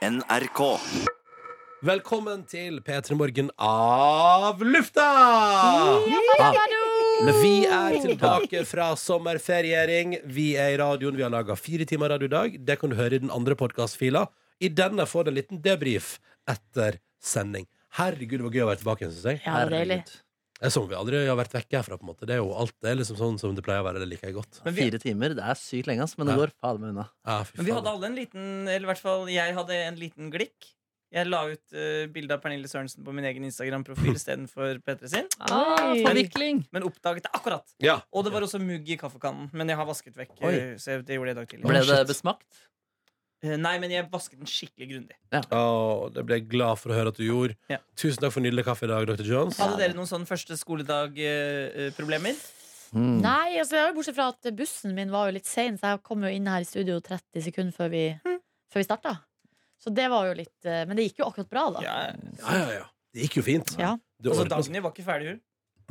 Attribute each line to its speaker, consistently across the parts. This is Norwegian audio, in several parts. Speaker 1: NRK.
Speaker 2: Velkommen til P3 Morgen av lufta! Men vi er tilbake fra sommerferiering. Vi er i radioen. Vi har laga fire timer radio i dag. Det kan du høre i den andre podkastfila. I denne får du en liten debrief etter sending. Herregud, hvor gøy å være tilbake igjen, syns jeg.
Speaker 3: Ja, det er deilig.
Speaker 4: Herregud.
Speaker 2: Det er som vi aldri har vært vekk herfra, på en måte. Det er jo alt det er liksom sånn som det pleier å være. Det liker jeg godt.
Speaker 4: Men vi- Fire timer, det er sykt lenge, ass, men det
Speaker 2: Ja.
Speaker 4: går fader meg unna.
Speaker 2: Ja, fy
Speaker 3: Men vi
Speaker 2: faen.
Speaker 3: hadde alle en liten Eller i hvert fall jeg hadde en liten glikk. Jeg la ut uh, bilde av Pernille Sørensen på min egen Instagram-profil istedenfor Petre sin.
Speaker 4: Ah,
Speaker 3: Oi.
Speaker 4: forvikling!
Speaker 3: Men oppdaget det akkurat.
Speaker 2: ja.
Speaker 3: Og det var også mugg i kaffekannen. Men jeg har vasket vekk.
Speaker 4: Oi.
Speaker 3: eh, Så jeg, det gjorde jeg i dag tidlig.
Speaker 4: Ble
Speaker 2: shit.
Speaker 4: det besmakt?
Speaker 3: Eh, Nei, men jeg vasket den skikkelig grundig.
Speaker 2: Å, det ble jeg glad for å høre at du gjorde.
Speaker 3: Ja.
Speaker 2: Tusen takk for nydelig kaffe i dag, Dr. Jones.
Speaker 3: Hadde dere noen sånn første eh, skoledag-problemer?
Speaker 4: Mm.
Speaker 5: Nei, altså, det er jo bortsett fra at bussen min var jo litt sein, så jeg kom jo inn her i studio 30 sekunder før vi,
Speaker 3: Hm.
Speaker 5: før vi starta. Så det var jo litt eh, Men det gikk jo akkurat bra, da.
Speaker 3: Ja.
Speaker 2: Ja, ja, ja. Det gikk jo fint.
Speaker 5: Ja.
Speaker 2: Det
Speaker 3: Altså,
Speaker 2: ordnet seg.
Speaker 3: Dagny var ikke ferdig, hun.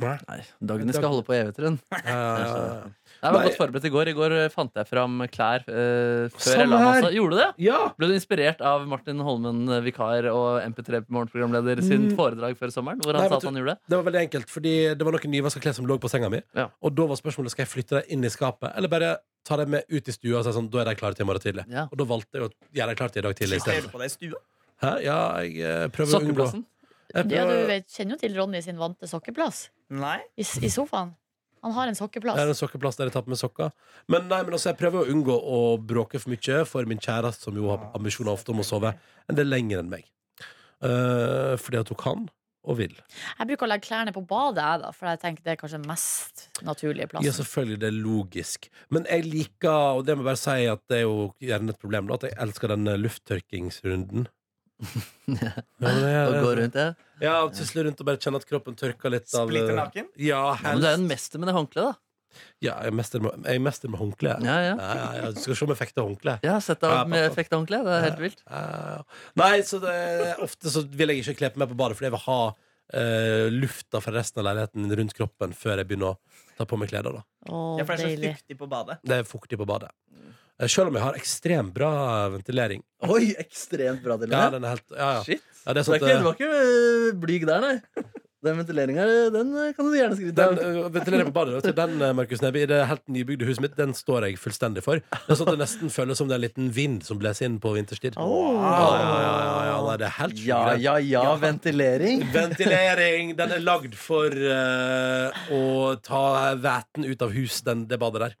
Speaker 4: Nei, Dagny skal holde på i evigheter, hun.
Speaker 2: Ja, ja, ja.
Speaker 4: Jeg var
Speaker 2: Nei.
Speaker 4: godt forberedt i går. I går eh, fant jeg fram klær eh, før jeg
Speaker 2: Samme
Speaker 4: la meg.
Speaker 2: her.
Speaker 4: altså. Gjorde du det?
Speaker 2: ja.
Speaker 4: Ble du inspirert av Martin Holmen, eh, vikar og MP3 morgenprogramleder, sin foredrag før sommeren? Hvor han
Speaker 2: Nei,
Speaker 4: sa
Speaker 2: vet
Speaker 4: at han gjorde det?
Speaker 2: Det var veldig enkelt, fordi det var noen nyvaska klær som lå på senga mi.
Speaker 4: Ja.
Speaker 2: Og da var spørsmålet skal jeg flytte dem inn i skapet, eller bare ta dem med ut i stua og si sånn, da er de klare til i morgen tidlig.
Speaker 4: Ja.
Speaker 2: Og da valgte jeg å gjøre dem klare til i dag tidlig i
Speaker 3: Skrev
Speaker 2: stedet.
Speaker 3: du på deg i stua?
Speaker 2: Hæ? Ja, jeg eh, prøver å unngå
Speaker 4: Sokkeplassen?
Speaker 2: jeg
Speaker 5: Ja,
Speaker 2: prøver,
Speaker 5: du vet, kjenner jo til Ronny sin vante sokkeplass
Speaker 3: Nei.
Speaker 5: i, s- i sofaen. Han har en
Speaker 2: Det er
Speaker 5: sokkeplass.
Speaker 2: en sokkeplass der jeg tar på meg sokker. Men nei, men altså, jeg prøver å unngå å bråke for mye for min kjæreste, som jo har ambisjoner ofte om å sove en del lenger enn meg. Eh, fordi at hun kan og vil.
Speaker 5: Jeg bruker å legge klærne på badet, jeg, da, for jeg tenker det er kanskje den mest naturlige
Speaker 2: Ja,
Speaker 5: plassen.
Speaker 2: selvfølgelig, det er logisk. Men jeg liker, og det må jeg bare si at det er jo gjerne et problem, da, at jeg elsker den eh, lufttørkingsrunden. ja, men det
Speaker 4: Og
Speaker 2: er-
Speaker 4: gå rundt, ja.
Speaker 2: Ja, og tusle rundt og bare kjenne at kroppen tørker litt av eh,
Speaker 3: Splitter naken?
Speaker 2: Ja,
Speaker 4: Ja, Men du er jo en
Speaker 2: helst.
Speaker 4: mester med det håndkleet, da.
Speaker 2: Ja, jeg er mester med, jeg er mester med håndkle.
Speaker 4: Ja, ja.
Speaker 2: Ja, ja, ja, du skal se om jeg fekter håndkle.
Speaker 4: Jeg har sett
Speaker 2: Ja,
Speaker 4: deg med
Speaker 2: pappa.
Speaker 4: effekt av håndkle. Det er helt vilt.
Speaker 2: Ja. Nei, så det, ofte så vil jeg ikke kle på meg på badet, fordi jeg vil ha eh, lufta fra resten av leiligheten rundt kroppen før jeg begynner å ta på meg klær. Da.
Speaker 5: Å,
Speaker 3: Jeg pleier så
Speaker 5: deilig.
Speaker 3: flyktig på badet.
Speaker 2: Det er fuktig på badet. Eh, Selv om jeg har ekstremt bra ventilering.
Speaker 4: Oi, ekstremt bra,
Speaker 2: Ja, den er helt ja, ja.
Speaker 4: Shit.
Speaker 2: Ja, det er
Speaker 4: Så
Speaker 2: sånn
Speaker 4: det er ikke,
Speaker 2: at,
Speaker 4: du var ikke øh, blyg der, nei. Den ventileringa den øh, kan du gjerne
Speaker 2: eh,
Speaker 4: skryte
Speaker 2: den
Speaker 4: av.
Speaker 2: eh, ventileringen på badet, vet du, den eh, Markus Neby, i det helt nybygde huset mitt, den står jeg fullstendig for. Det er sånn at det nesten føles som det er en liten vind som blåser inn på vinterstid. Ja, ja, ja, ja, ja, nei, det er helt
Speaker 4: Ja,
Speaker 2: sjukt.
Speaker 4: ja, ja, ventilering.
Speaker 2: Ventilering. Den er lagd for eh, å ta væten ut av hus, den, det badet der.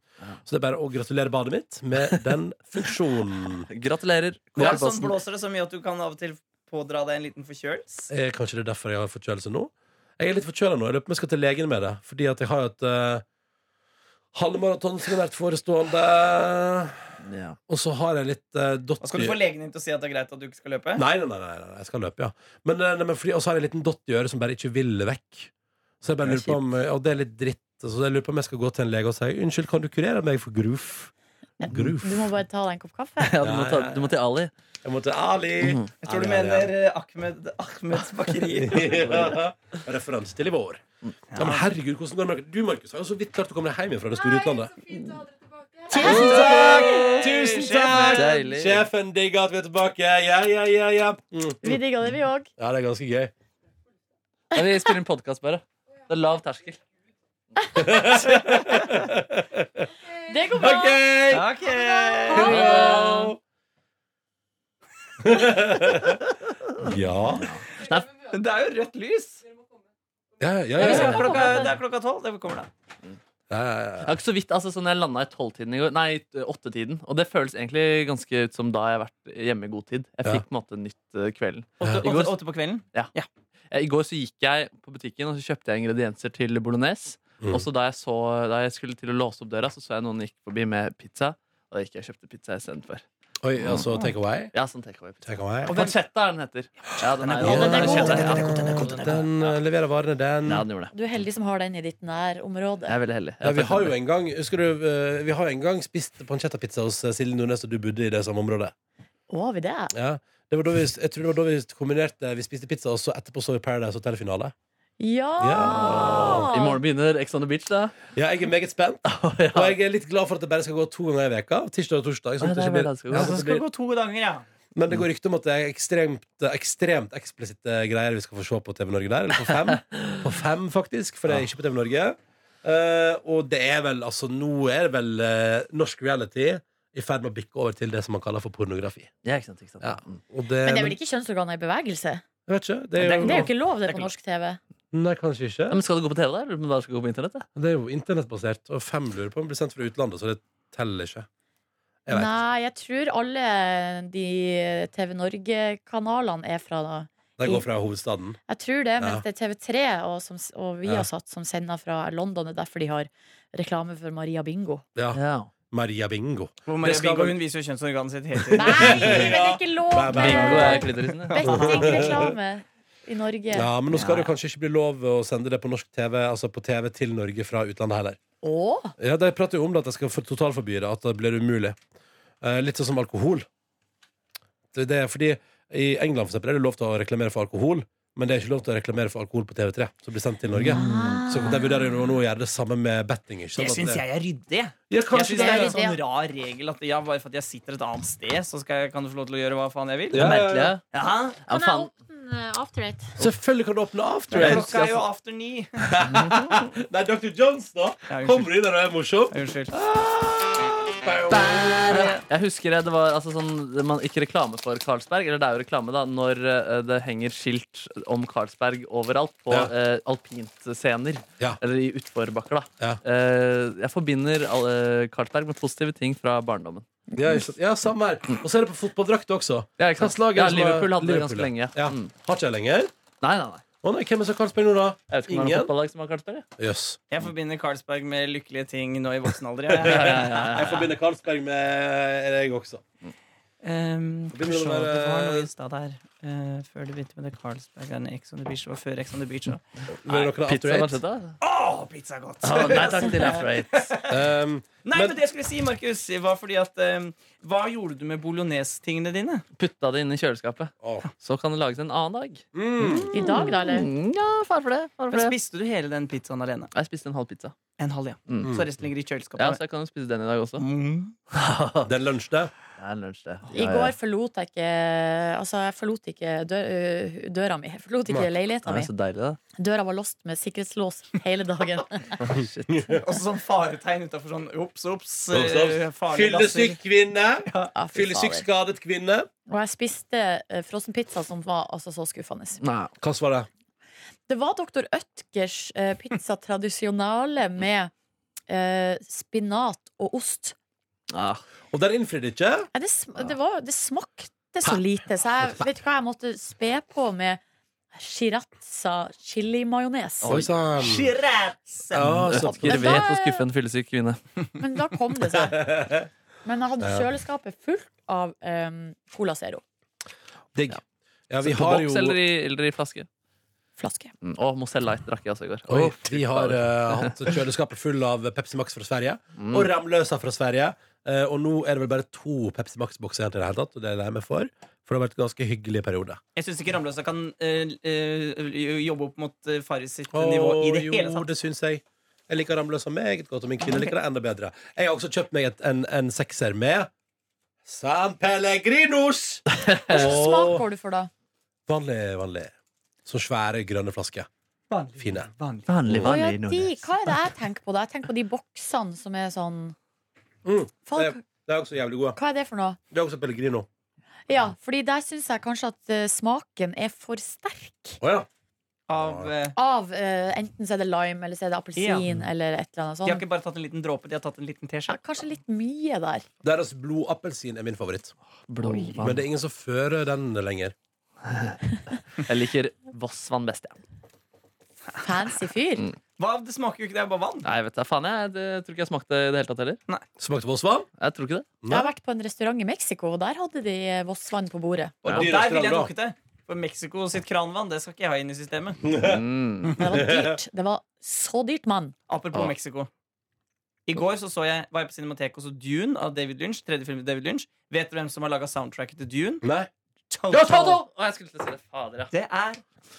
Speaker 2: Så det er bare å gratulere badet mitt med den funksjonen.
Speaker 4: Gratulerer. Kåre
Speaker 3: Ja, sånn
Speaker 4: Fossen.
Speaker 3: blåser det så mye at du kan av og til pådra deg en liten forkjølelse.
Speaker 2: Eh, kanskje det er derfor jeg har forkjølelse nå? Jeg er litt forkjøla nå. Jeg lurer på om jeg skal til legen med det. Fordi at jeg har jo et eh, halvmaraton som er nært forestående.
Speaker 4: Ja.
Speaker 2: Og så har jeg litt uh,
Speaker 3: Og Ah, skal du få legen din til å si at det er greit at du ikke skal løpe?
Speaker 2: Nei, nei, nei, nei, nei, jeg skal løpe, ja. Men, eh, nei, men fordi, og så har jeg en liten dott i øret som bare ikke vil vekk. Så jeg bare
Speaker 4: Det er
Speaker 2: lurer på om, Og det er litt dritt. Så jeg lurer på om jeg skal gå til en lege og si unnskyld, kan du kurere meg for groof? Groof.
Speaker 5: Du må bare ta deg en kopp kaffe.
Speaker 4: Ja, du, må ta, du må til Ali.
Speaker 2: Jeg må til Ali.
Speaker 4: Mhm.
Speaker 3: Jeg tror du
Speaker 2: Ja, ja, ja.
Speaker 3: mener eh, Ahmed, Ahmeds bakeri.
Speaker 2: Ja. Referanse til i vår.
Speaker 3: Mm.
Speaker 2: Ja, men herregud, hvordan går det med dere? Du, Markus, har jo så vidt klart å komme deg hjem igjen fra det store utlandet.
Speaker 5: Tusen
Speaker 2: takk! Tusen takk!
Speaker 4: Deilig.
Speaker 2: Sjefen digger at vi er tilbake. Ja, ja, ja, ja. Mm.
Speaker 5: Vi digga det, vi òg.
Speaker 2: Ja, det er ganske gøy.
Speaker 4: Ja, vi spiller inn podkast, bare. Det er lav terskel.
Speaker 5: Det går bra.
Speaker 3: Ok
Speaker 4: Hello.
Speaker 2: Ja.
Speaker 3: Det er jo rødt lys.
Speaker 2: Ja, ja, ja.
Speaker 3: Det
Speaker 2: ja,
Speaker 3: er klokka, det er klokka tolv. Det kommer da.
Speaker 2: ja, ja, ja.
Speaker 4: Jeg har ikke så vidt, altså sånn Jeg landa i tolvtiden i går, nei, i åttetiden. Og det føles egentlig ganske ut som da jeg har vært hjemme i god tid. Jeg
Speaker 2: Ja.
Speaker 4: fikk på en måte nytt eh, kvelden.
Speaker 3: Åtte,
Speaker 4: I går-
Speaker 3: åtte, åtte på kvelden.
Speaker 4: Eh, I går så gikk jeg på butikken og så kjøpte jeg ingredienser til bolognese.
Speaker 2: Mm.
Speaker 4: Og så da jeg, så, da jeg skulle til å låse opp døra, så så jeg noen gikk forbi med pizza. Og da gikk jeg og kjøpte pizza istedenfor.
Speaker 2: Oi, altså, take away.
Speaker 4: Ja, sånn takeaway-pizza.
Speaker 2: Take away.
Speaker 4: Og pancetta er den heter. Ja, den er
Speaker 5: god,
Speaker 4: god.
Speaker 5: den er god,
Speaker 4: kjøpt,
Speaker 5: den er
Speaker 4: ja.
Speaker 5: god, den er god,
Speaker 4: Ja,
Speaker 2: Den eh, leverer varene, den.
Speaker 4: den gjorde det.
Speaker 5: Du er heldig som har den i ditt
Speaker 4: Jeg
Speaker 5: nærområde.
Speaker 4: er veldig heldig.
Speaker 2: Ja, vi har jo en gang husker du, eh, Vi har jo en gang spist pancetta-pizza hos eh, Silje Nordnes, og du bodde i det samme området.
Speaker 5: Å, har vi det?
Speaker 2: Ja. Det var da vi, jeg tror det var da vi kombinerte Vi spiste pizza, og så etterpå så vi Paradise Hotel-finale.
Speaker 5: Ja!
Speaker 2: Ja.
Speaker 4: I morgen begynner Ex on the Beach, da.
Speaker 2: Ja, jeg er meget spent, og jeg er litt glad for at det bare skal gå to ganger i veka Tirsdag og torsdag.
Speaker 4: Ja,
Speaker 2: Sånn at
Speaker 4: det
Speaker 2: det
Speaker 4: er
Speaker 2: ikke
Speaker 4: veldig
Speaker 2: blir,
Speaker 4: skal gå.
Speaker 2: ja,
Speaker 3: Så
Speaker 2: sånn at det
Speaker 3: skal det
Speaker 2: blir,
Speaker 3: gå to dager, ja.
Speaker 2: Men det går rykte om at det er ekstremt, ekstremt eksplisitte greier vi skal få se på TV Norge der. Eller på fem, på fem faktisk, for det er ikke på TV Norge. Eh, og det er vel, altså nå er det vel eh, norsk reality i ferd med å bikke over til det som man kaller for pornografi.
Speaker 4: Ja, ikke sant, ikke sant.
Speaker 2: Ja.
Speaker 4: Mm.
Speaker 2: Og det,
Speaker 5: Men det er vel ikke kjønnsorganer i bevegelse?
Speaker 2: Jeg vet ikke. Det
Speaker 4: Det
Speaker 2: er
Speaker 4: er
Speaker 2: jo,
Speaker 5: Det er jo ikke lov, det,
Speaker 4: Det er
Speaker 5: på
Speaker 4: ikke
Speaker 5: norsk TV.
Speaker 2: Nei, kanskje ikke.
Speaker 4: Ja, men skal det gå på TV, da? Eller om det skal gå på internett? da?
Speaker 2: Det er jo internettbasert, og fem lurer på om det blir sendt fra utlandet, så det teller ikke. Jeg vet ikke.
Speaker 5: Nei, jeg tror alle de TV Norge-kanalene er fra da.
Speaker 2: Det går fra hovedstaden.
Speaker 5: Jeg tror det, mens
Speaker 2: Ja.
Speaker 5: det er TV3 og, som, og vi
Speaker 2: Ja.
Speaker 5: har satt som sender fra London. Det er derfor de har reklame for Maria Bingo.
Speaker 2: Ja.
Speaker 4: Ja.
Speaker 2: Maria Bingo.
Speaker 3: Hvor Maria
Speaker 2: skal
Speaker 3: Bingo
Speaker 2: vel-
Speaker 3: hun viser jo kjønnsorganet sitt hele tiden.
Speaker 5: Nei, men det er ikke lov!
Speaker 2: Nei, nei,
Speaker 4: Bingo er
Speaker 5: med
Speaker 4: klitorisen. ja.
Speaker 5: Bettingreklame i Norge.
Speaker 2: Ja, men nå
Speaker 4: Ja,
Speaker 2: skal det jo kanskje ikke bli lov å sende det på norsk TV, altså på TV til Norge fra utlandet heller.
Speaker 5: Åh,
Speaker 2: Ja, De prater jo om det at de skal for- totalforby det, at det blir umulig. Eh, litt sånn som alkohol. Det, det er fordi I England for eksempel, er det lov til å reklamere for alkohol, men det er ikke lov til å reklamere for alkohol på TV3, som blir sendt til Norge.
Speaker 5: Ah.
Speaker 2: Mm, Så de vurderer jo nå å gjøre det samme med betting. Ikke sant?
Speaker 3: Det
Speaker 2: At
Speaker 3: syns
Speaker 2: det-
Speaker 3: jeg er ryddig. jeg.
Speaker 2: Ja,
Speaker 3: Jeg
Speaker 2: kanskje det
Speaker 3: synes det er
Speaker 5: er
Speaker 3: en
Speaker 5: ryddig, ja.
Speaker 3: sånn rar regel at ja, bare for at jeg sitter et annet sted, så skal jeg, kan du få lov til å gjøre hva faen jeg vil.
Speaker 4: Det er merkelig. ja.
Speaker 3: Ja,
Speaker 4: Ja,
Speaker 5: Ah. kan jeg
Speaker 4: faen.
Speaker 5: åpne After Eight?
Speaker 2: Selvfølgelig kan du åpne after
Speaker 4: Jeg
Speaker 2: eight.
Speaker 3: Klokka er jo after ni.
Speaker 2: Nei, Dr. Jones, da.
Speaker 3: Ja,
Speaker 2: Kommer
Speaker 3: unnskyld.
Speaker 2: du inn der og er morsom?
Speaker 3: Unnskyld.
Speaker 4: Jeg husker det, det var altså sånn det man, Ikke reklame for Carlsberg, eller det er jo reklame, da, når eh, det henger skilt om Carlsberg overalt på
Speaker 2: Ja.
Speaker 4: eh, alpintscener.
Speaker 2: Ja.
Speaker 4: Eller i utforbakker, da.
Speaker 2: Ja.
Speaker 4: Eh, jeg forbinder alle Carlsberg med positive ting fra barndommen.
Speaker 2: Ja, ikke sant? ja, samme her. Og så er det på fotballdrakt også.
Speaker 4: Ja, ikke sant?
Speaker 2: Hvilket lag er
Speaker 4: ja,
Speaker 2: det som har-
Speaker 4: Liverpool hadde det ganske
Speaker 2: Liverpool,
Speaker 4: lenge.
Speaker 2: Ja.
Speaker 4: Mm.
Speaker 2: Har ikke jeg lenger?
Speaker 4: Nei, nei, nei.
Speaker 2: Å nei, hvem er så Carlsberg nå, da?
Speaker 4: Jeg vet ikke om det er noe
Speaker 2: Ingen?
Speaker 4: fotballag som har Carlsberg. Ja.
Speaker 2: Jøss.
Speaker 3: Jeg forbinder Carlsberg med lykkelige ting nå i voksen alder. jeg.
Speaker 4: Ja, ja, ja,
Speaker 2: Jeg forbinder Carlsberg med jeg også.
Speaker 3: Ehm, skal vi
Speaker 2: Begynner
Speaker 3: se,
Speaker 2: å
Speaker 3: det
Speaker 2: være-
Speaker 3: var noe i stad her. Eh, før du begynte med det Carlsberg og Ex on the Beach. Det var før Ex on the Beach òg.
Speaker 2: Vil dere ha
Speaker 4: ja. Pizza
Speaker 2: After Eight?
Speaker 4: Marcetta?
Speaker 3: Å, pizza er godt!
Speaker 4: Å, nei takk til After Eight.
Speaker 2: Um,
Speaker 3: Nei,
Speaker 2: Men-
Speaker 3: men det jeg skulle si, Markus, var fordi at ehm, Hva gjorde du med bolognese-tingene dine?
Speaker 4: Putta det inn i kjøleskapet.
Speaker 2: å.
Speaker 4: Så kan det lages en annen dag.
Speaker 2: mm.
Speaker 5: I dag, da, eller?
Speaker 4: Mm, Ja, far for det. Far
Speaker 3: Men
Speaker 4: for det.
Speaker 3: Spiste du hele den pizzaen alene?
Speaker 4: Jeg spiste en halv pizza.
Speaker 3: En halv, ja.
Speaker 4: Mm.
Speaker 3: Så resten ligger i kjøleskapet.
Speaker 4: Ja, så jeg kan jo spise den i dag også.
Speaker 3: Mm.
Speaker 2: Det er lunsj, det.
Speaker 4: Det er lunsj, det.
Speaker 5: I går forlot jeg ikke Altså, jeg forlot ikke dø- ø, døra mi. Jeg forlot ikke leiligheta
Speaker 4: Det
Speaker 5: mi.
Speaker 4: er så deilig, det.
Speaker 5: Døra var låst med sikkerhetslås hele dagen.
Speaker 4: Shit.
Speaker 3: Og så sånn faretegn utafor sånn ops, ops.
Speaker 2: Ops,
Speaker 3: eh, farlige
Speaker 2: Fyllesyk
Speaker 3: lasser.
Speaker 2: kvinne.
Speaker 5: Ja, fy
Speaker 2: Fyllesyk
Speaker 5: fader.
Speaker 2: skadet kvinne.
Speaker 5: Og jeg spiste eh, frossenpizza som var altså så skuffende.
Speaker 4: Nei.
Speaker 2: Hva var det?
Speaker 5: Det var Dr. Ødgers eh, pizza tradisjonale med eh, spinat og ost.
Speaker 4: Ah.
Speaker 2: Og den innfridde ikke.
Speaker 5: Nei, det, sm det, var, det smakte så lite, så jeg vet du hva jeg måtte spe på med shirazza chilimajones.
Speaker 4: Oi.
Speaker 2: sann.
Speaker 3: Shiraz!
Speaker 2: Ja, så-
Speaker 4: Ødger
Speaker 5: Men da-
Speaker 4: vet å skuffe en fyllesyk kvinne.
Speaker 5: Men da kom det seg. Men jeg hadde kjøleskapet fullt av em, Cola Zero-flaske.
Speaker 2: Digg. Ja, vi
Speaker 4: På
Speaker 2: har
Speaker 4: boks eller
Speaker 2: jo
Speaker 4: i, eller i flaske. Mm. Og Mozell Light drakk jeg også i går.
Speaker 2: Oi,
Speaker 4: Oi,
Speaker 2: vi har eh, hatt kjøleskapet full av Pepsi Max fra Sverige.
Speaker 3: Mm.
Speaker 2: Og Ramløsa fra Sverige. Eh, og nå er det vel bare to Pepsi Max-bokser igjen til det hele tatt. Og det er jeg lei meg for, for det har vært en ganske hyggelig periode.
Speaker 3: Jeg syns ikke Ramløsa kan eh, eh, jobbe opp mot eh, Farris sitt nivå i det
Speaker 2: Å,
Speaker 3: hele
Speaker 2: jo,
Speaker 3: tatt.
Speaker 2: det syns jeg. Jeg liker Ramløsa meget godt, og min kvinne liker det enda bedre. Jeg har også kjøpt meg et, en, en sekser med San Pellegrinos!
Speaker 5: Hvilken smak
Speaker 2: Og
Speaker 5: får du for da?
Speaker 2: vanlig, vanlig. Så svære, grønne flasker. Fine.
Speaker 4: Vanlig,
Speaker 5: Å ja, de, hva er det jeg tenker på da? Jeg tenker på de boksene som er sånn
Speaker 2: Mm, det,
Speaker 5: Folk,
Speaker 2: det er også jævlig gode.
Speaker 5: Hva er det for noe?
Speaker 2: Det er også Pellegrino.
Speaker 5: Ja, fordi der syns jeg kanskje at eh, smaken er for sterk.
Speaker 2: Å ja.
Speaker 3: Av, eh,
Speaker 5: Av eh, enten så er det lime, eller så er det appelsin, eller et eller annet
Speaker 3: de har
Speaker 5: sånt.
Speaker 3: ikke bare tatt en liten dråpe, de har tatt en liten teskje.
Speaker 5: Ja, kanskje litt mye der.
Speaker 2: Deres blodappelsin er min favoritt. Men det
Speaker 4: Blodvann.
Speaker 2: er ingen som fører den lenger.
Speaker 4: Jeg liker Vossvann best, jeg.
Speaker 5: Fancy fyr.
Speaker 3: Hva, det smaker jo ikke, det er bare vann.
Speaker 4: Nei, vet du, faen, jeg, det, jeg tror ikke jeg smakte det i det hele tatt heller.
Speaker 2: Smakte Volsvann.
Speaker 4: Jeg tror ikke det.
Speaker 5: Jeg har vært på en restaurant i Mexico, og der hadde de eh, Vossvann på bordet.
Speaker 2: Og
Speaker 3: Og
Speaker 2: dyr
Speaker 3: der ville
Speaker 2: restaurant,
Speaker 3: jeg
Speaker 2: da.
Speaker 3: drukket det. For Mexico sitt kranvann, det skal ikke jeg ha inn i systemet.
Speaker 4: Mm.
Speaker 5: Men det var dyrt. Det var så dyrt, mann.
Speaker 3: Apropos
Speaker 4: Ah.
Speaker 3: Mexico. I går så, så jeg, var jeg på Cinemateket og så Dune av David Lynch. Tredje film til David Lynch Vet du hvem som har laga soundtracket til Dune?
Speaker 2: Nei.
Speaker 3: Toto!
Speaker 4: Ja, Toto! Å, jeg skulle til å si det. Fader, ja.
Speaker 3: Det er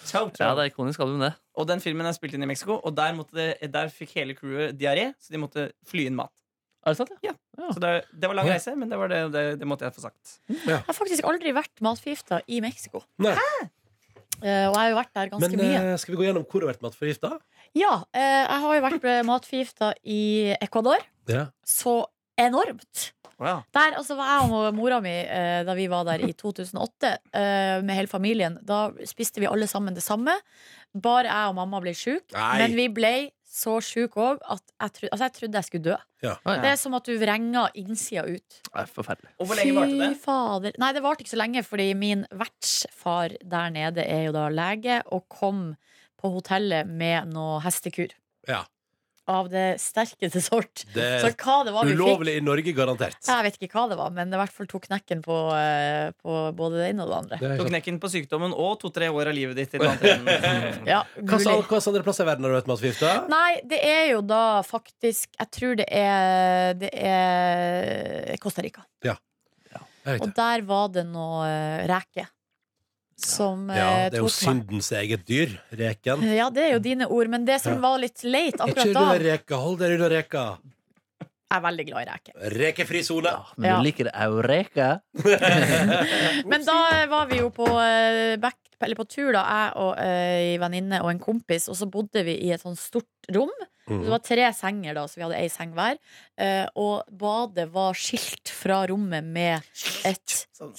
Speaker 3: Toto.
Speaker 4: Ja, det er ikonisk album, det.
Speaker 3: Og den filmen er spilt inn i Mexico, og der, måtte det, der fikk hele crewet diaré, så de måtte fly inn mat.
Speaker 4: Er det sant? ja?
Speaker 3: Ja. Så det, det var lang reise, men det, var det, det, det måtte jeg få sagt.
Speaker 5: Jeg har faktisk aldri vært matforgifta i Mexico.
Speaker 2: Nei.
Speaker 5: Eh, og jeg har jo vært der ganske
Speaker 2: Men
Speaker 5: mye.
Speaker 2: eh, skal vi gå gjennom hvor du har vært matforgifta?
Speaker 5: Ja, eh, jeg har jo vært eh, matforgifta i Ecuador.
Speaker 2: Ja.
Speaker 5: Så enormt!
Speaker 4: Wow.
Speaker 5: Der, altså var jeg og mora mi eh, da vi var der i 2008 eh, med hele familien. Da spiste vi alle sammen det samme. Bare jeg og mamma ble sjuke.
Speaker 2: Nei.
Speaker 5: Men vi ble så sjuke òg at jeg, tro, altså jeg trodde jeg skulle dø.
Speaker 4: Ah,
Speaker 5: Det
Speaker 4: ja.
Speaker 5: er som at du vrenger innsida ut.
Speaker 4: Det er forferdelig.
Speaker 3: Og hvor lenge varte det?
Speaker 5: fader. Nei, det varte ikke så lenge, fordi min vertsfar der nede er jo da lege, og kom på hotellet med noe hestekur.
Speaker 2: Ja.
Speaker 5: Av det sterkeste sort.
Speaker 2: Det
Speaker 5: Så
Speaker 2: er
Speaker 5: hva det var vi fikk
Speaker 2: ulovlig i Norge, garantert.
Speaker 5: jeg vet ikke hva det var, men det i hvert fall tok knekken på, eh, på både det ene og det andre.
Speaker 2: Det er
Speaker 3: Tok
Speaker 2: sant.
Speaker 3: knekken på sykdommen og to-tre år av livet ditt. I den andre enden.
Speaker 5: Ja,
Speaker 2: Mm. Hva sa-
Speaker 5: mulig.
Speaker 2: hva sa andre plasser i verden har du vært matforgifta?
Speaker 5: Nei, det er jo da faktisk Jeg tror det er, det er Costa Rica.
Speaker 2: Jeg vet
Speaker 5: Og
Speaker 2: ikke.
Speaker 5: der var det noe eh, reke som
Speaker 2: Ja,
Speaker 5: eh,
Speaker 2: det er jo
Speaker 5: tok meg.
Speaker 2: syndens eget dyr. Reken.
Speaker 5: Eh, Ja, det er jo dine ord, men det som
Speaker 2: Ja.
Speaker 5: var litt leit
Speaker 2: Er
Speaker 5: akkurat
Speaker 2: ikke
Speaker 5: da
Speaker 2: unna reka. Hold deg unna reka.
Speaker 5: Jeg er veldig glad i reker.
Speaker 2: Rekefri sone.
Speaker 4: men
Speaker 5: Ja.
Speaker 4: du liker Eureka?
Speaker 5: Men da var vi jo på, eh, back, eller på tur, da, jeg og eh, ei venninne og en kompis, og så bodde vi i et sånn stort rom.
Speaker 2: Mm.
Speaker 5: Så Det var tre senger, da, så vi hadde ei seng hver. Eh, og badet var skilt fra rommet med et
Speaker 3: Sånn.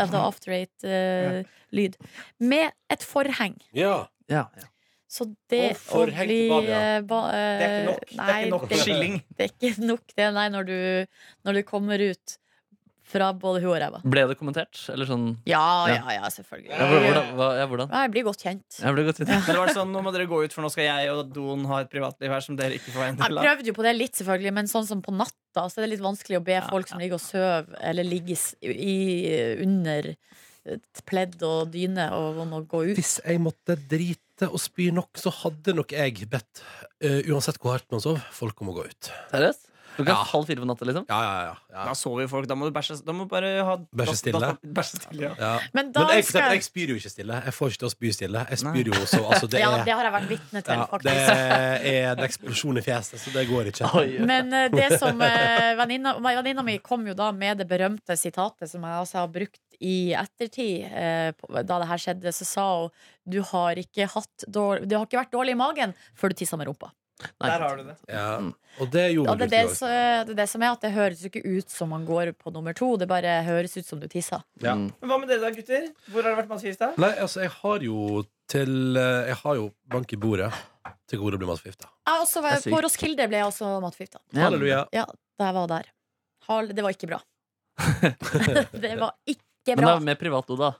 Speaker 5: altså After Eight-lyd. eh, med et forheng.
Speaker 2: Ja.
Speaker 4: Ja, ja.
Speaker 5: Så det
Speaker 2: Å, forheng til badet, ja.
Speaker 5: eh, ba- eh,
Speaker 3: Det er ikke nok. Det
Speaker 5: Nei,
Speaker 3: er ikke nok
Speaker 5: det,
Speaker 3: skilling.
Speaker 5: det er ikke nok, det, nei, når du, når du kommer ut fra både huet og ræva.
Speaker 4: Ble det kommentert? Eller sånn
Speaker 5: Ja,
Speaker 4: Ja.
Speaker 5: ja, ja,
Speaker 4: ja, hvor-
Speaker 5: selvfølgelig.
Speaker 4: hvordan, hva, ja, hvordan?
Speaker 5: Ja, Jeg blir godt kjent.
Speaker 4: Jeg ble godt
Speaker 3: Men det var sånn, nå må dere gå ut, for nå skal jeg og Don ha et privatliv her som dere ikke får være en
Speaker 5: Jeg
Speaker 3: del av.
Speaker 5: prøvde jo på det litt, selvfølgelig, men sånn som på natta Så er det litt vanskelig å be folk som ligger og sover, eller ligger s- i, under et pledd og dyne, og om å gå ut.
Speaker 2: Hvis jeg måtte drite og spy nok, så hadde nok jeg bedt, eh, uansett hvor hardt man sov, folk om å gå ut.
Speaker 4: Seriøst? Du kan
Speaker 2: Ja.
Speaker 4: halv fire på natta, liksom?
Speaker 2: Ja, ja, ja.
Speaker 3: Da
Speaker 2: ja.
Speaker 3: sover jo folk. Da må du bæsje Da må du bare ha
Speaker 2: Bæsje stille?
Speaker 3: da- bæsje stille, ja.
Speaker 2: ja.
Speaker 5: Men da
Speaker 2: Men jeg, for
Speaker 5: skal
Speaker 2: eksempel,
Speaker 5: jeg
Speaker 2: jeg spyr jo ikke stille. Jeg får ikke til å spy stille. Jeg
Speaker 3: Nei.
Speaker 2: spyr jo så altså, det,
Speaker 5: Ja,
Speaker 2: er,
Speaker 5: det har jeg vært vitne til,
Speaker 2: ja, det
Speaker 5: faktisk.
Speaker 2: er en eksplosjon i fjeset, så det går ikke.
Speaker 4: Oi, oi.
Speaker 5: Men eh, det som eh, venninna, nei, venninna mi kom jo da med det berømte sitatet som jeg altså har brukt i ettertid, eh, på- da det her skjedde, så sa hun du har ikke, hatt dår- du har ikke vært dårlig i magen før du tissa med rumpa.
Speaker 4: Nei,
Speaker 3: Der har du det.
Speaker 2: Ja. Og det
Speaker 5: Ja,
Speaker 2: gjorde
Speaker 5: det, er
Speaker 2: du
Speaker 5: det,
Speaker 2: ikke.
Speaker 5: så, det er det som er at det høres jo ikke ut som man går på nummer to. Det bare høres ut som du tisser.
Speaker 2: Ja.
Speaker 4: Mm.
Speaker 3: Men hva med dere da, gutter? Hvor har det vært matforgifta?
Speaker 2: Nei, altså, jeg har jo til eh, Jeg har jo bank i bordet til gode å bli matforgifta.
Speaker 5: Jeg også
Speaker 4: Det
Speaker 5: var,
Speaker 4: er sykt.
Speaker 5: på Roskilde ble jeg også matforgifta.
Speaker 2: Halleluja.
Speaker 5: Ja, da jeg var der. Hal- Det var ikke bra. det var ikke
Speaker 4: Men det
Speaker 5: bra.
Speaker 4: er med privat do, da.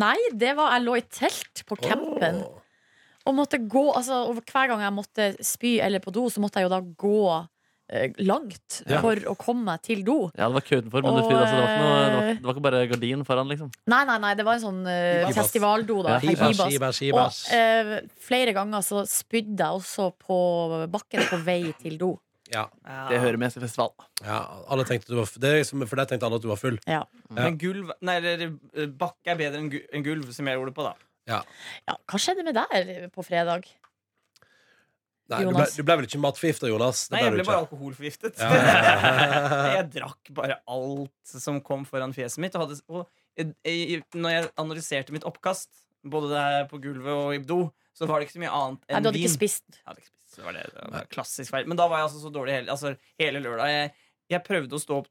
Speaker 5: Nei, det var jeg lå i telt på campen.
Speaker 2: Åh.
Speaker 5: Og måtte gå, altså og Hver gang jeg måtte spy eller på do, så måtte jeg jo da gå eh, langt
Speaker 2: Ja.
Speaker 5: for å komme meg til do.
Speaker 4: Ja, det var kø utenfor, men
Speaker 5: Og,
Speaker 4: det, fint, altså, det, var ikke noe, det, var,
Speaker 5: eh,
Speaker 4: det var ikke bare gardin foran, liksom.
Speaker 5: Nei, nei, nei, det var en sånn eh,
Speaker 2: Hibas.
Speaker 5: festivaldo, da.
Speaker 4: Ja,
Speaker 2: Hibas,
Speaker 5: Hibas.
Speaker 2: hibas,
Speaker 5: Og
Speaker 2: hibas.
Speaker 5: eh, flere ganger så spydde jeg også på bakken på vei til do.
Speaker 2: Ja,
Speaker 4: Det hører med til festival.
Speaker 2: ja, alle tenkte du var, f- det er som- for der tenkte alle at du var full.
Speaker 5: Ja.
Speaker 2: Ja.
Speaker 3: Men gulv Nei, eller eh, bakke er bedre enn gu- enn gulv, som jeg gjorde det på, da.
Speaker 2: Ja.
Speaker 5: ja, Hva skjedde med deg på fredag?
Speaker 2: Nei, du, ble,
Speaker 5: Jonas.
Speaker 2: du ble vel ikke matforgifta, Jonas? Det
Speaker 3: Nei, jeg
Speaker 2: du
Speaker 3: ble
Speaker 2: ikke.
Speaker 3: bare alkoholforgiftet.
Speaker 2: Ja, ja, ja.
Speaker 3: jeg drakk bare alt som kom foran fjeset mitt. Og hadde, og, eh, eh, når jeg analyserte mitt oppkast, både det her på gulvet og i do, så var det ikke så mye annet
Speaker 5: Nei,
Speaker 3: enn
Speaker 5: du hadde
Speaker 3: vin.
Speaker 5: ikke spist.
Speaker 3: Jeg hadde ikke spist. Så Det var det, det var klassisk feil. Men da var jeg altså så dårlig hele, altså, hele lørdag. Jeg, jeg prøvde å stå opp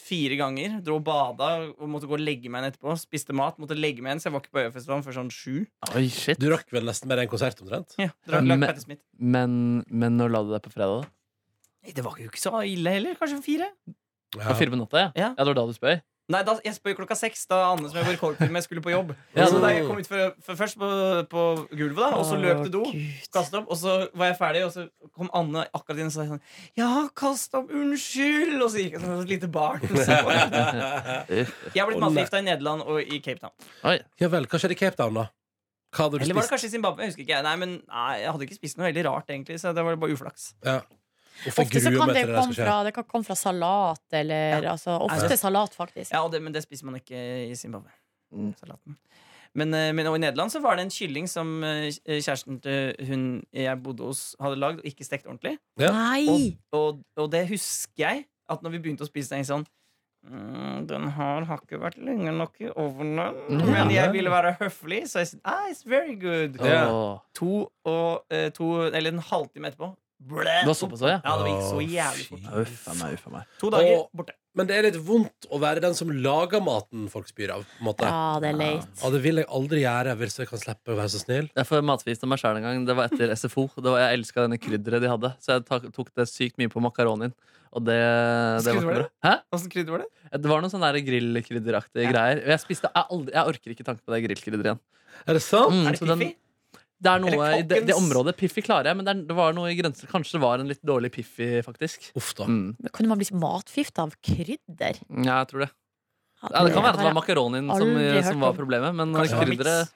Speaker 3: fire ganger. Dro og bada og måtte gå og legge meg igjen etterpå. Spiste mat, måtte legge meg igjen, så jeg var ikke på Øyafestivalen før sånn sju.
Speaker 4: Oi, shit.
Speaker 2: Du rakk vel nesten mer enn konsert, omtrent?
Speaker 3: Ja,
Speaker 4: Ja,
Speaker 3: drakk- lagde
Speaker 4: men-
Speaker 3: Petter Smith.
Speaker 4: Men, men når la du deg på fredag? da?
Speaker 3: Nei, Det var jo ikke så ille heller. Kanskje fire?
Speaker 4: Det var Fire på natta, ja. ja? Det
Speaker 3: Ja.
Speaker 4: var da du spøy?
Speaker 3: Nei, da, jeg spøy klokka seks, da Anne som jeg var i kollektiv med, skulle på jobb.
Speaker 4: Ja,
Speaker 3: så
Speaker 4: men-
Speaker 3: da jeg kom ut for, for først på, på gulvet, da, og så løp til do. Kastet opp, Og så var jeg ferdig, og så kom Anne akkurat inn og sa sånn Ja, kast opp, unnskyld! Og så gikk jeg som et lite barn. Så på det. Jeg har blitt matforgifta i Nederland og i Cape Town.
Speaker 4: Oi.
Speaker 2: Ja vel, hva skjedde i Cape Town, da? Hva hadde du
Speaker 3: Eller var det
Speaker 2: spist?
Speaker 3: kanskje i Zimbabwe? Jeg husker ikke. Nei, men nei, jeg hadde ikke spist noe veldig rart, egentlig. Så det var bare uflaks.
Speaker 2: Ja. Hvorfor
Speaker 5: Ofte så
Speaker 2: gruer
Speaker 5: kan
Speaker 2: meg
Speaker 5: det
Speaker 2: til skal
Speaker 5: komme
Speaker 2: skje?
Speaker 5: fra, det kan komme fra salat, eller altså,
Speaker 3: Ja.
Speaker 5: ofte salat, faktisk.
Speaker 3: Ja, og det, Men det spiser man ikke i Zimbabwe.
Speaker 4: Mm.
Speaker 3: salaten. Men, eh, men og i Nederland så var det en kylling som eh, kjæresten til hun jeg bodde hos, hadde lagd og ikke stekt ordentlig.
Speaker 2: Ja.
Speaker 5: Nei!
Speaker 3: Og, og, og det husker jeg at når vi begynte å spise den sånn «Mm, den her har ikke vært lenge nok i ovnen.
Speaker 4: Mm.
Speaker 3: Men jeg ville være høflig, så jeg sa ah, it's very good.
Speaker 2: Ja.
Speaker 4: Åh.
Speaker 3: To og eh, to, eller en halvtime etterpå. Ble.
Speaker 4: Det var såpass også, ja?
Speaker 3: Ja, det gikk så
Speaker 2: Å,
Speaker 3: jævlig
Speaker 2: fy.
Speaker 3: fort.
Speaker 4: Ja, Uff a meg, uff a meg.
Speaker 3: To dager
Speaker 2: Og-
Speaker 3: borte.
Speaker 2: Men det er litt vondt å være den som lager maten folk spyr av. På en måte.
Speaker 5: Ja, det er leit.
Speaker 2: Ja, det vil jeg aldri gjøre hvis jeg kan slippe å være så snill.
Speaker 4: Jeg får matforgifta meg sjæl en gang. Det var etter SFO. Det var, jeg elska denne krydderet de hadde, så jeg ta- tok det sykt mye på makaronien. Og det, det var
Speaker 3: Skulle
Speaker 4: ikke
Speaker 3: du
Speaker 4: bra. Hæ?
Speaker 3: Åssen krydder var det?
Speaker 4: Det var noen sånne der grillkrydderaktige greier. Og jeg spiste jeg, aldri, jeg orker ikke tanke på det grillkrydderet igjen.
Speaker 2: Er det sant?
Speaker 4: Mm,
Speaker 3: Er det
Speaker 4: så den-
Speaker 3: Piffi?
Speaker 4: Det er noe
Speaker 3: Eller
Speaker 4: i det, det
Speaker 3: Kalkens?
Speaker 4: området. Piffi klarer jeg, men det, er, det var noe i grenser. Kanskje det var en litt dårlig Piffi, faktisk.
Speaker 2: Uff da.
Speaker 4: Mm.
Speaker 5: Men Kunne man bli matforgifta av krydder?
Speaker 4: Ja, jeg tror det. Ja, det kan være at det var makaronien som, eh,
Speaker 5: aldri hørt
Speaker 4: som var
Speaker 5: om.
Speaker 4: problemet, men eh,
Speaker 3: Kanskje det var
Speaker 4: krydderet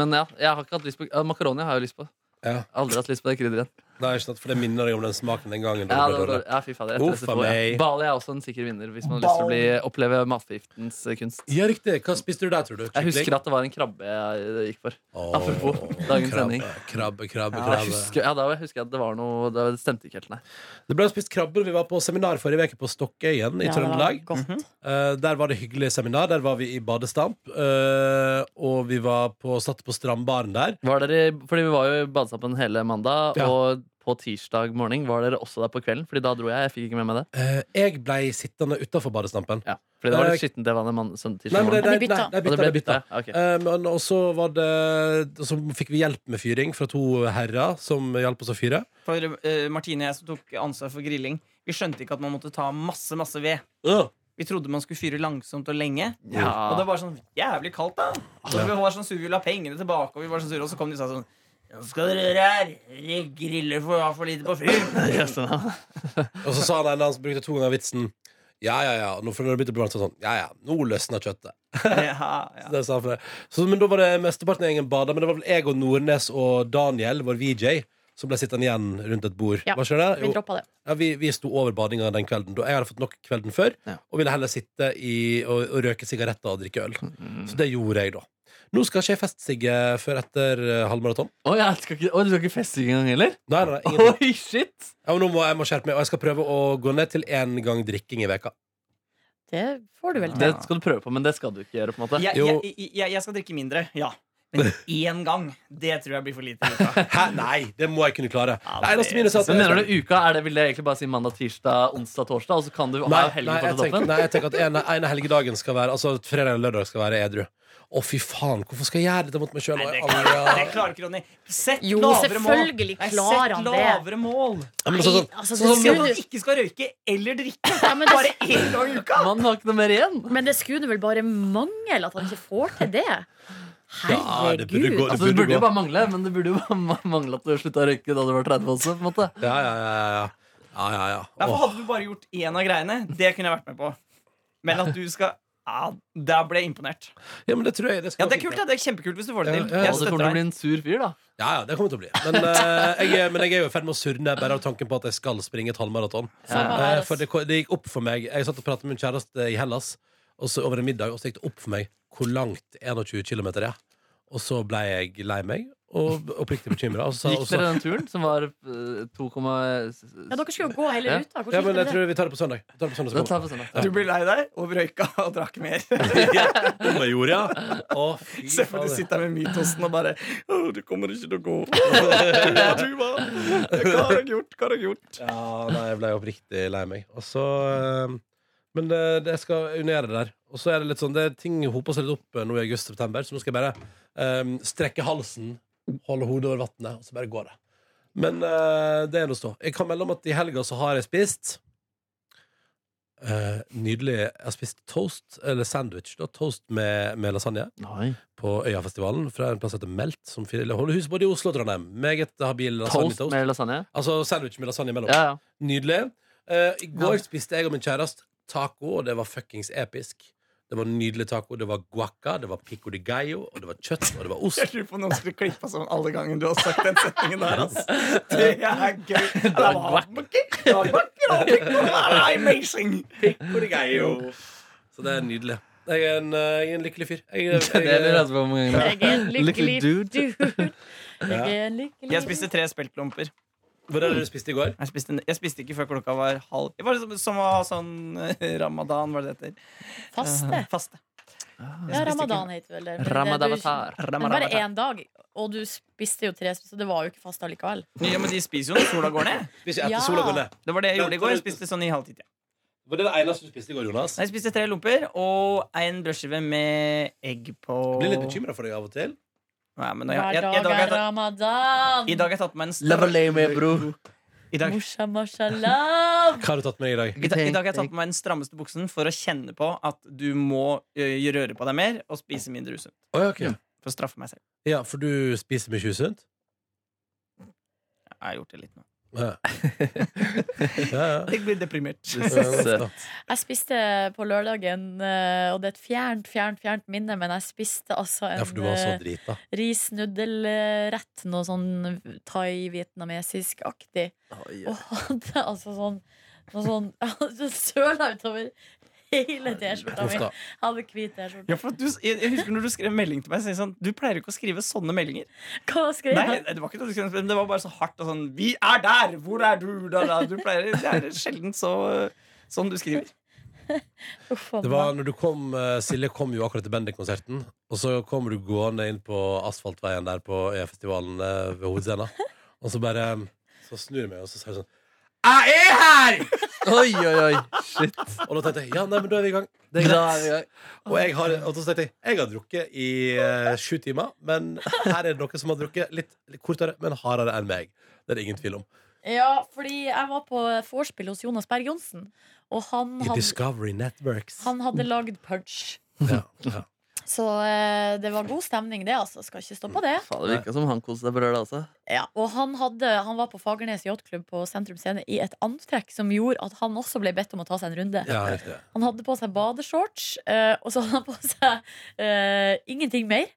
Speaker 4: Men ja, jeg har ikke hatt lyst på ja, Makaroni har jeg jo lyst på.
Speaker 2: Ja.
Speaker 4: Aldri hatt lyst på det krydderet.
Speaker 2: Nei, ikke sant, for det minner deg om den smaken den gangen. da
Speaker 4: Ja,
Speaker 2: det
Speaker 4: det
Speaker 2: ble
Speaker 4: var,
Speaker 2: dårlig.
Speaker 4: ja, fy fader.
Speaker 2: Uff,
Speaker 4: Etter SFO,
Speaker 2: meg.
Speaker 4: ja. Bali er også en sikker vinner hvis man har lyst til å bli, oppleve matforgiftens eh, kunst.
Speaker 2: Ja, riktig. Hva spiste du der, tror du?
Speaker 4: Jeg husker at det var en krabbe jeg eh, gikk for.
Speaker 2: Åh,
Speaker 4: apropos dagens
Speaker 2: krabbe,
Speaker 4: sending.
Speaker 2: Krabbe, krabbe,
Speaker 4: Jeg
Speaker 2: krabbe.
Speaker 4: husker, ja, da husker jeg at det var noe Det stemte ikke helt, nei.
Speaker 2: Det ble spist krabbe når vi var på seminar forrige uke på Stokkøyen i Trøndelag.
Speaker 5: Godt.
Speaker 2: Eh, der var det hyggelig seminar. Der var vi i badestamp. eh, og vi var på, satt på strandbaren der.
Speaker 4: Var dere, fordi vi var jo i badestampen hele mandag,
Speaker 2: Ja.
Speaker 4: og på tirsdag morgen var dere også der på kvelden, Fordi da dro jeg. Jeg fikk ikke med meg det.
Speaker 2: Eh, jeg blei sittende utafor badestampen.
Speaker 4: Ja, fordi det var
Speaker 2: Eh,
Speaker 4: litt skittent det vannet man, sånn
Speaker 2: Nei,
Speaker 4: tirsdag
Speaker 2: men det,
Speaker 4: morgen.
Speaker 5: Ja,
Speaker 2: det,
Speaker 5: de
Speaker 2: nei,
Speaker 5: bytta.
Speaker 2: nei,
Speaker 4: Og det
Speaker 2: bytta,
Speaker 4: ble
Speaker 2: det bytta.
Speaker 4: bytta. ja, ok.
Speaker 2: Eh, men, og så var det og Så fikk vi hjelp med fyring fra to herrer som hjalp oss å fyre.
Speaker 3: For eh, Martine og jeg som tok ansvar for grilling, vi skjønte ikke at man måtte ta masse, masse ved.
Speaker 2: Uh,
Speaker 3: Vi trodde man skulle fyre langsomt og lenge.
Speaker 4: Ja.
Speaker 3: Og det var sånn jævlig kaldt, da. Og vi var sånn sure, vi la pengene tilbake, og vi var sånn sure, og så kom de og sa sånn Nå skal dere gjøre her. Dere griller for å ha for lite på fyr.
Speaker 4: Ja, sånn, ja.
Speaker 2: og så sa han en som brukte to ganger vitsen Ja, ja, ja. Nå, for når det begynte å bli varmt, så var det sånn Ja, ja, nå løsner kjøttet.
Speaker 3: ja,
Speaker 2: Så
Speaker 3: ja.
Speaker 2: det sa han for det. Så, men da var det mesteparten av gjengen bada, men det var vel jeg og Nordnes og Daniel, vår VJ, som ble sittende igjen rundt et bord.
Speaker 5: Ja,
Speaker 2: Hva skjer det?
Speaker 5: Vi
Speaker 2: Jo,
Speaker 5: droppa det.
Speaker 2: ja, vi, vi sto over badinga den kvelden. Da jeg hadde fått nok kvelden før,
Speaker 4: Ja.
Speaker 2: og ville heller sitte i, og, og røke sigaretter og drikke øl. Så det gjorde jeg, da. Nå skal ikke jeg festsigge før etter eh, halvmaraton.
Speaker 4: Å, jeg skal ikke, å, du skal ikke feste engang heller?
Speaker 2: Nei, nei, nei, ingenting.
Speaker 4: Oi, shit!
Speaker 2: Ja, men nå må jeg må skjerpe meg, og jeg skal prøve å gå ned til én gang drikking i veka
Speaker 5: Det får du vel
Speaker 4: Det
Speaker 5: til.
Speaker 4: skal du prøve på, men det skal du ikke gjøre. på en måte
Speaker 3: Jeg,
Speaker 2: Jo.
Speaker 3: jeg, jeg, jeg skal drikke mindre, ja. Men én gang, det tror jeg blir for lite. Luka.
Speaker 2: Hæ? Nei, det må jeg kunne klare.
Speaker 3: Ja,
Speaker 2: det eneste
Speaker 3: det-
Speaker 2: minus er at
Speaker 4: Men mener du uka? Er det, vil det egentlig bare si mandag, tirsdag, onsdag, torsdag? Og så kan du ha
Speaker 2: Nei,
Speaker 4: helgen
Speaker 2: nei,
Speaker 4: på
Speaker 2: jeg tenker,
Speaker 4: toppen?
Speaker 2: nei, jeg tenker at en, en av helgedagen skal være Altså fredag eller lørdag skal være edru. Å, fy faen, hvorfor skal jeg gjøre dette mot meg sjøl?
Speaker 3: Nei, det, det
Speaker 2: Ja,
Speaker 3: klarer ikke Ronny. Sett
Speaker 5: Jo,
Speaker 3: lavere mål.
Speaker 5: selvfølgelig
Speaker 3: Nei,
Speaker 5: klarer han
Speaker 3: sett
Speaker 5: det.
Speaker 3: lavere mål.
Speaker 2: men sånn,
Speaker 5: Nei,
Speaker 2: sånn,
Speaker 5: altså, det
Speaker 3: Si at
Speaker 2: sånn,
Speaker 5: skulle-
Speaker 3: man ikke skal røyke eller drikke.
Speaker 5: Ja, men,
Speaker 3: Bare
Speaker 5: det,
Speaker 3: én gang i uka.
Speaker 4: Man har ikke noe mer igjen!
Speaker 5: men det skulle vel bare mangle at han ikke får til det.
Speaker 2: Ja, det burde gå-
Speaker 5: Herregud.
Speaker 4: Altså, det burde jo
Speaker 2: gå.
Speaker 4: bare mangle, men det burde jo bare ma- mangle at du slutta å røyke da du var 30 også. på en måte
Speaker 2: ja, ja, ja, ja. ja, ja, ja.
Speaker 3: Derfor
Speaker 2: Åh.
Speaker 3: hadde du bare gjort én av greiene. Det kunne jeg vært med på. Men at du skal ja, Der ble jeg imponert.
Speaker 2: ja, men det tror jeg det
Speaker 3: Ja,
Speaker 2: skal
Speaker 3: Det er kult, det. Det er kjempekult hvis du får det til.
Speaker 2: Ja, ja,
Speaker 4: Og
Speaker 3: Jeg
Speaker 4: så kommer du
Speaker 3: støtter
Speaker 4: til å bli
Speaker 3: deg.
Speaker 4: en sur fyr, da.
Speaker 2: Ja, ja, det kommer til å bli. Men, eh, jeg, er- men jeg er jo i ferd med å surne bare av tanken på at jeg skal springe et halvmaraton.
Speaker 5: Samme
Speaker 2: Eh,
Speaker 5: her, ass.
Speaker 2: for det, ko- det gikk opp for meg Jeg satt og pratet med min kjæreste i Hellas og så over en middag, og så gikk det opp for meg hvor langt 21 km er. Og så ble jeg lei meg og oppriktig bekymra. Og så, sa- og
Speaker 4: Gikk
Speaker 2: så,
Speaker 4: dere den turen som var eh, 2,
Speaker 5: Ja, dere skulle jo gå hele
Speaker 4: Ja.
Speaker 5: ruta.
Speaker 2: Ja,
Speaker 5: Hvordan
Speaker 2: men
Speaker 5: gikk
Speaker 2: jeg
Speaker 5: det med det?
Speaker 2: tror vi tar det på søndag. Vi tar det på søndag
Speaker 4: Da
Speaker 2: som
Speaker 4: tar vi sånn, da.
Speaker 3: Du blir lei deg og røyka og drakk mer.
Speaker 2: kommer. Om jeg gjorde, ja. Å, fy
Speaker 3: Se for deg du
Speaker 2: fader.
Speaker 3: sitter her med mytosen og bare Å, du kommer ikke til å gå. Hva har du gjort? Hva har jeg gjort?
Speaker 2: Ja, nei, jeg ble oppriktig lei meg. Og så eh, Men det, det jeg skal unere det der. Og så er det litt sånn det, Ting hoper seg litt opp eh, nå i august-september, så nå skal jeg bare eh, strekke halsen, holde hodet over vannet, og så bare går det. Men eh, det er nå så. Jeg kan melde om at i helga så har jeg spist eh, Nydelig. Jeg har spist toast, eller sandwich, da. Toast med, med lasagne
Speaker 4: Nei.
Speaker 2: på Øyafestivalen fra en plass som heter Melt, som fyller- holder hus både i Oslo og Trondheim. Meget habil lasagne
Speaker 4: Toast
Speaker 2: toast.
Speaker 4: med lasagne?
Speaker 2: Altså sandwich med lasagne imellom.
Speaker 4: Ja, ja.
Speaker 2: Nydelig. Eh, I går spiste jeg og min kjæreste taco, og det var fuckings episk. Det var nydelig taco. Det var guacca, det var pico de gallo, og det var kjøtt, og det var ost.
Speaker 3: Jeg lurer på om noen skulle klippa sånn alle gangene du har sagt den setningen der. ass. Det er gøy. Det var Det var vakkert. Det var amazing.
Speaker 2: Så det er nydelig. jeg er en, eh, jeg er en lykkelig fyr. Jeg, jeg,
Speaker 1: Det lurer jeg altså på hvor mange ganger.
Speaker 5: Jeg er en lykkelig
Speaker 1: Lykkelig dude.
Speaker 5: dude. Jeg
Speaker 2: Ja.
Speaker 5: er en lykkelig
Speaker 3: Jeg spiste tre speltklumper.
Speaker 2: Hva var det du spiste i går?
Speaker 3: Jeg spiste, jeg spiste ikke før klokka var halv Det var som, som å ha sånn eh, ramadan, var det det heter.
Speaker 5: faste.
Speaker 3: Eh, faste. Jeg
Speaker 5: Ja,
Speaker 3: spiste ikke-
Speaker 5: ramadan heter vel det. men det-
Speaker 4: Ramadavatar.
Speaker 5: du- Men bare én dag. Og du spiste jo tre, så det var jo ikke fast allikevel.
Speaker 3: Ja, men de spiser jo når sola går ned.
Speaker 2: Spiste etter
Speaker 5: Ja.
Speaker 2: sola går ned.
Speaker 3: Det var det jeg gjorde i går. Jeg spiste sånn i halvtid. Ja.
Speaker 2: Var det det eneste du spiste i går, Jonas?
Speaker 3: Jeg spiste tre lomper og en brødskive med egg på
Speaker 2: Jeg blir litt bekymra for deg av og til.
Speaker 3: Nei, men jeg,
Speaker 5: Hver
Speaker 3: jeg, jeg, i
Speaker 5: dag
Speaker 3: dag har jeg,
Speaker 5: er
Speaker 3: tatt-
Speaker 5: ramadan.
Speaker 3: I dag har jeg tatt med en
Speaker 1: Lava
Speaker 3: stram,
Speaker 1: lay med, bro.
Speaker 3: i dag,
Speaker 5: Morsa, mashallah.
Speaker 2: Hva har du tatt med deg i dag?
Speaker 3: i, da- I dag har jeg tatt på meg den strammeste buksen for å kjenne på at du må ø, røre på deg mer og spise mindre usunt.
Speaker 2: Å, ja, ok.
Speaker 3: For å straffe meg selv.
Speaker 2: ja, for du spiser mye usunt?
Speaker 3: Jeg har gjort det litt nå.
Speaker 2: Ja. Ja, ja.
Speaker 3: Jeg blir deprimert.
Speaker 4: Søt.
Speaker 5: Jeg spiste på lørdagen, eh, og det er et fjernt, fjernt, fjernt minne, men jeg spiste altså en
Speaker 2: Ja, for du var så
Speaker 5: eh,
Speaker 2: drita.
Speaker 5: risnudelrett, noe sånn thai-vietnamesisk-aktig. Og hadde altså sånn noe sånn altså, Søla utover hele T-skjorta
Speaker 2: Uff
Speaker 5: mi.
Speaker 2: da.
Speaker 5: Jeg Hadde hvit T-skjorte.
Speaker 3: Ja, for at du, jeg, jeg husker når du skrev melding til meg, så jeg sånn, du pleier ikke å skrive sånne meldinger.
Speaker 5: Hva skrev
Speaker 3: Nei,
Speaker 5: jeg?
Speaker 3: det var ikke noe du skrev, men det var bare så hardt og sånn Vi er der! Hvor er du? Da, da. Du pleier, det er sjelden så Sånn du skriver.
Speaker 5: Uff a
Speaker 2: Det
Speaker 5: meg.
Speaker 2: var når du kom, eh, Silje kom jo akkurat til Bendik-konserten, og så kommer du gående inn på asfaltveien der på E-festivalen eh, ved hovedscena, og så bare eh, så snur jeg meg, og så sier jeg sånn
Speaker 3: Jeg er her!
Speaker 1: Oi, oi, oi. Shit.
Speaker 2: Og da tenkte jeg ja, nei, men da er vi i gang.
Speaker 1: Det er greit.
Speaker 2: Og, jeg har, og så tenkte jeg jeg har drukket i eh, sju timer, men her er det noen som har drukket litt, litt kortere, men hardere enn meg. Det er det ingen tvil om.
Speaker 5: Ja, fordi jeg var på vorspiel hos Jonas Berg Johnsen, og han
Speaker 2: I
Speaker 5: hadde,
Speaker 2: Discovery Networks.
Speaker 5: han hadde lagd punch.
Speaker 2: Ja, ja.
Speaker 5: Så eh, det var god stemning, det, altså. Skal ikke stå på
Speaker 2: Mm.
Speaker 5: det.
Speaker 4: Faen, det virka som han koste seg på altså. lørdag også.
Speaker 5: Ja, og han, hadde, han var på Fagernes yachtklubb på Sentrum Scene i et antrekk som gjorde at han også ble bedt om å ta seg en runde.
Speaker 2: ja, riktig.
Speaker 5: Han hadde på seg badeshorts, eh, og så hadde han på seg eh, ingenting mer.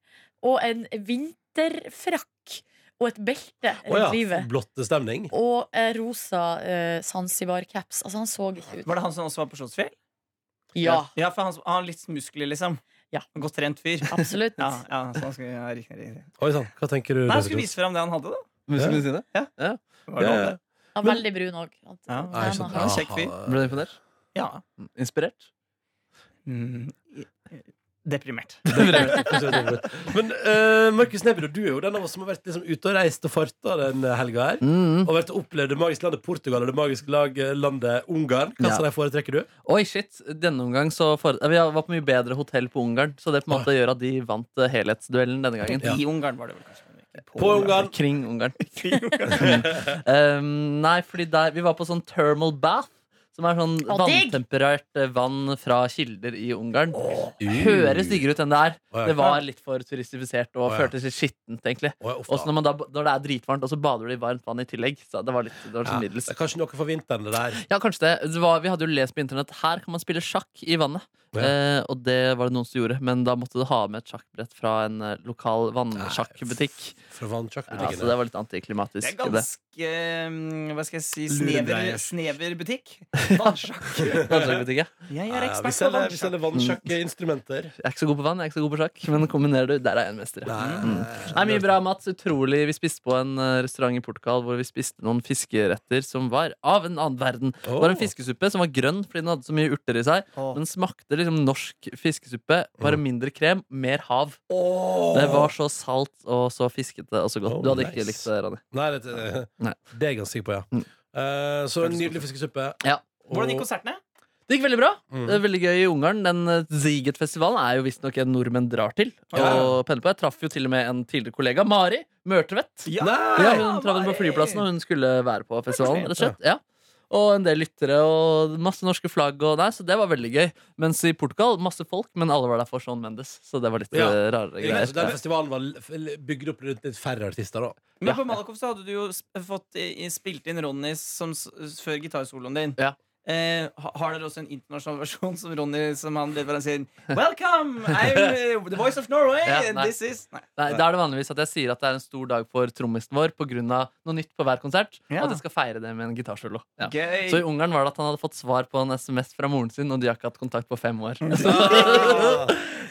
Speaker 5: Og en vinterfrakk og et belte
Speaker 2: Å
Speaker 5: rundt
Speaker 2: ja.
Speaker 5: livet.
Speaker 2: Blottestemning.
Speaker 5: Og eh, rosa eh, Zanzibar-caps. Altså, han så ikke ut.
Speaker 3: Var det han som også var på Slottsfjell?
Speaker 5: Ja,
Speaker 3: ja for han, han har litt muskler, liksom.
Speaker 5: Ja.
Speaker 3: En Godt trent fyr.
Speaker 5: absolutt.
Speaker 3: Ja, ja, så han skulle, ja, riktig, riktig.
Speaker 2: Oi sann, hva tenker du?
Speaker 3: Nei, han
Speaker 2: Rose
Speaker 3: skulle
Speaker 2: Rose?
Speaker 3: vise fram det han hadde, da.
Speaker 1: Musklene sine?
Speaker 3: Var det
Speaker 2: Ja,
Speaker 3: han
Speaker 2: ja.
Speaker 3: det?
Speaker 5: Han var veldig brun òg.
Speaker 3: Ja,
Speaker 2: Nei, jeg skjønner.
Speaker 3: Han er en kjekk fyr.
Speaker 2: Aha.
Speaker 4: Ble du imponert?
Speaker 3: ja.
Speaker 4: Inspirert?
Speaker 3: Mm. Deprimert.
Speaker 2: Men eh, Markus Neby, du er jo den av oss som har vært liksom, ute og reist og farta den eh, helga her.
Speaker 1: Mm.
Speaker 2: Og vært og opplevd det magiske landet Portugal og det magiske lag- eh, landet Ungarn. Hva
Speaker 1: Ja.
Speaker 2: slags foretrekker du?
Speaker 4: Oi, shit. Denne omgang så fore... Vi var på mye bedre hotell på Ungarn, så det på en
Speaker 3: Ah.
Speaker 4: måte gjør at de vant eh, helhetsduellen denne gangen.
Speaker 2: Ja.
Speaker 3: I Ungarn var det vel kanskje. men ikke
Speaker 2: På Ungarn.
Speaker 4: Kring Ungarn. um, nei, fordi der Vi var på sånn thermal bath, som er sånn
Speaker 5: Å, digg!
Speaker 4: vanntemperert eh, vann fra kilder i Ungarn. Høres diggere ut enn det er.
Speaker 2: Å, ja.
Speaker 4: Det var litt for turistifisert og
Speaker 2: Å, ja.
Speaker 4: føltes litt skittent, egentlig.
Speaker 2: Å, ja, uff da.
Speaker 4: Og så når, man da, når det er dritvarmt, og så bader du i varmt vann i tillegg. Så det var litt det var
Speaker 2: Ja,
Speaker 4: sånn
Speaker 2: det
Speaker 4: middels.
Speaker 2: er kanskje noe for vinteren, det der.
Speaker 4: Ja, kanskje det. det var, vi hadde jo lest på internett Her kan man spille sjakk i vannet.
Speaker 2: Ja.
Speaker 4: Eh, og det var det noen som gjorde, men da måtte du ha med et sjakkbrett fra en eh, lokal vannsjakkbutikk.
Speaker 2: Fra vannsjakkbutikken.
Speaker 4: Ja, så Altså, det var litt antiklimatisk.
Speaker 3: Det er
Speaker 4: det.
Speaker 3: ganske um, Hva skal jeg si snever,
Speaker 2: Lurendreier.
Speaker 3: snever butikk. Vannsjakk.
Speaker 4: Vannsjakkbutikk, ja.
Speaker 3: Jeg
Speaker 2: Ja,
Speaker 3: er
Speaker 2: ja, vi
Speaker 3: ekspert på
Speaker 2: selger, vi
Speaker 3: vannsjakk.
Speaker 2: selger vannsjakkinstrumenter.
Speaker 4: Jeg er ikke så god på vann, jeg er ikke så god på sjakk, men kombinerer du, der er jeg en mester. ja. Mm. Nei, mye bra, Mats. Utrolig. Vi spiste på en eh, restaurant i Portugal hvor vi spiste noen fiskeretter som var av en annen verden. Det var en fiskesuppe som var grønn fordi den hadde så mye urter i seg.
Speaker 3: Åh.
Speaker 4: Den smakte liksom norsk fiskesuppe, bare mindre krem, mer hav. Det var så salt og så fiskete og så godt.
Speaker 2: Oh,
Speaker 4: Du hadde ikke
Speaker 2: nice.
Speaker 4: likt det, Ronny.
Speaker 2: Nei, det, det,
Speaker 4: Nei.
Speaker 2: det er jeg ganske sikker på, ja.
Speaker 4: Mm.
Speaker 2: Eh, så en nydelig fiskesuppe.
Speaker 4: Ja.
Speaker 2: Og-
Speaker 3: Hvordan gikk konsertene?
Speaker 4: Det gikk veldig bra.
Speaker 2: Mm.
Speaker 4: Det er Veldig gøy i Ungarn. Den eh, Ziget-festivalen er jo visstnok en nordmenn drar til.
Speaker 2: Ja.
Speaker 4: Og pendler på Jeg traff jo til og med en tidligere kollega, Mari Mørtvedt.
Speaker 2: Nei!
Speaker 4: Ja, hun traff henne på flyplassen, og hun skulle være på festivalen. rett Og slett ja. Og en del lyttere og masse norske flagg. Og nei, så det var veldig gøy. Mens i Portugal masse folk, men alle var der for Shawn Mendes. Så det var litt
Speaker 2: Ja.
Speaker 4: eh, rarere
Speaker 2: Ja, så
Speaker 4: greier.
Speaker 2: den festivalen var l- f- bygd opp rundt litt færre artister, da.
Speaker 3: Men på Malakoff så hadde du jo sp- fått i- i- spilt inn Ronny som s- før gitarsoloen din.
Speaker 4: Ja.
Speaker 3: Eh, ha- har dere også en internasjonal versjon som Ronny som han leveranserer? Welcome! I'm eh, the voice of Norway!
Speaker 4: Ja,
Speaker 3: and
Speaker 4: nei.
Speaker 3: this is Nei.
Speaker 4: Nei, Da er det vanligvis at jeg sier at det er en stor dag for trommisen vår pga. noe nytt på hver konsert.
Speaker 3: Ja.
Speaker 4: Og at jeg skal feire det med en gitarsolo. Ja.
Speaker 3: Gøy.
Speaker 4: Så i Ungarn var det at han hadde fått svar på en SMS fra moren sin, og de har ikke hatt kontakt på fem år.
Speaker 2: Ah,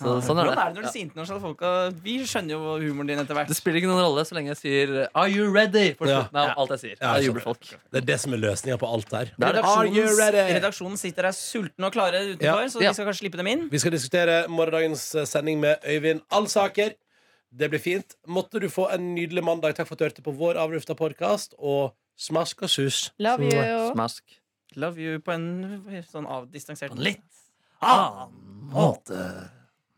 Speaker 4: Så, sånn er
Speaker 3: Hvordan
Speaker 4: det.
Speaker 3: er det når disse internasjonale folka Vi skjønner jo humoren din etter hvert.
Speaker 4: Det spiller ikke noen rolle så lenge jeg sier 'Are you ready?' på
Speaker 2: Ja.
Speaker 4: slutten av alt jeg sier.
Speaker 2: Ja,
Speaker 4: Da
Speaker 2: sånn.
Speaker 4: jubler folk.
Speaker 2: det er det som er løsninga på alt her.
Speaker 4: Det er det.
Speaker 2: Are you ready?
Speaker 3: redaksjonen sitter her sultne og klare utenfor,
Speaker 2: Ja.
Speaker 3: så vi
Speaker 4: Ja.
Speaker 3: skal kanskje slippe dem inn.
Speaker 2: Vi skal diskutere morgendagens eh, sending med Øyvind Alsaker. Det blir fint. Måtte du få en nydelig mandag. Takk for at du hørte på vår avrufta podkast. Og smask og sus.
Speaker 5: Love you.
Speaker 4: Smask.
Speaker 3: Love you på en sånn avdistansert
Speaker 4: Litt